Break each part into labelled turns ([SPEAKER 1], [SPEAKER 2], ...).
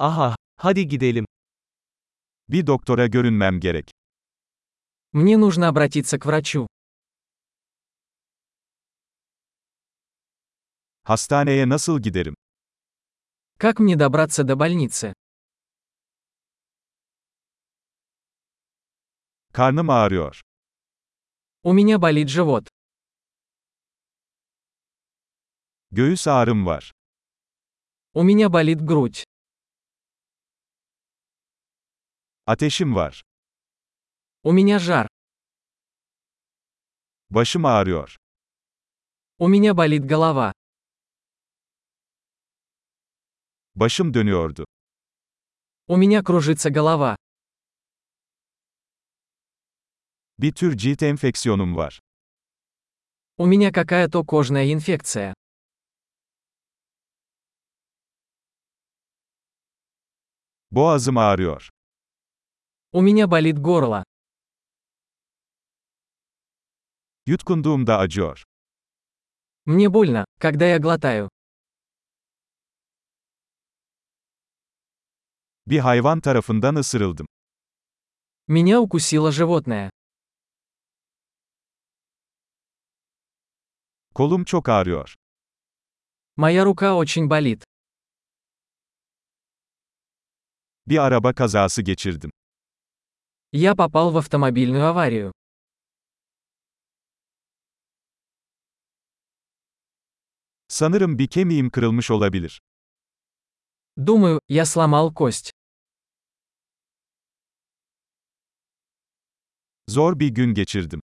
[SPEAKER 1] Aha, hadi gidelim.
[SPEAKER 2] Bir doktora görünmem gerek.
[SPEAKER 3] Мне нужно обратиться к врачу.
[SPEAKER 2] Hastaneye nasıl giderim?
[SPEAKER 3] Как мне добраться до больницы?
[SPEAKER 2] Karnım ağrıyor.
[SPEAKER 3] У меня болит живот.
[SPEAKER 2] Göğüs ağrım var.
[SPEAKER 3] У меня болит грудь.
[SPEAKER 2] Ateşim var.
[SPEAKER 3] У меня жар.
[SPEAKER 2] Başım ağrıyor.
[SPEAKER 3] У меня болит голова.
[SPEAKER 2] Başım dönüyordu.
[SPEAKER 3] У меня кружится голова.
[SPEAKER 2] Bir tür cilt enfeksiyonum var.
[SPEAKER 3] У меня какая-то кожная инфекция.
[SPEAKER 2] Boğazım ağrıyor.
[SPEAKER 3] У меня болит горло.
[SPEAKER 2] Yutkunduğumda acıyor.
[SPEAKER 3] Мне больно, когда я глотаю.
[SPEAKER 2] Bir hayvan tarafından ısırıldım.
[SPEAKER 3] Меня укусило животное.
[SPEAKER 2] Kolum çok ağrıyor.
[SPEAKER 3] Моя рука очень болит.
[SPEAKER 2] Bir araba kazası geçirdim.
[SPEAKER 3] Я попал в автомобильную аварию.
[SPEAKER 2] Sanırım bir kemiğim kırılmış olabilir.
[SPEAKER 3] Думаю, я сломал кость.
[SPEAKER 2] Zor bir gün geçirdim.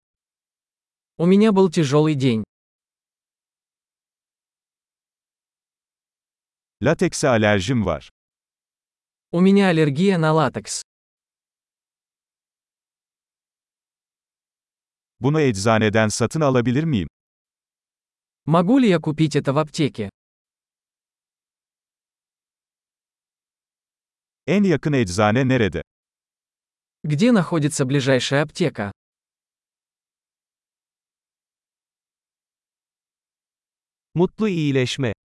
[SPEAKER 3] У меня был тяжелый день.
[SPEAKER 2] Latekse alerjim var.
[SPEAKER 3] У меня аллергия на латекс.
[SPEAKER 2] Bunu eczaneden satın alabilir miyim?
[SPEAKER 3] Могу ли я купить это в аптеке?
[SPEAKER 2] En yakın eczane nerede?
[SPEAKER 3] Где находится ближайшая аптека?
[SPEAKER 1] Mutlu iyileşme.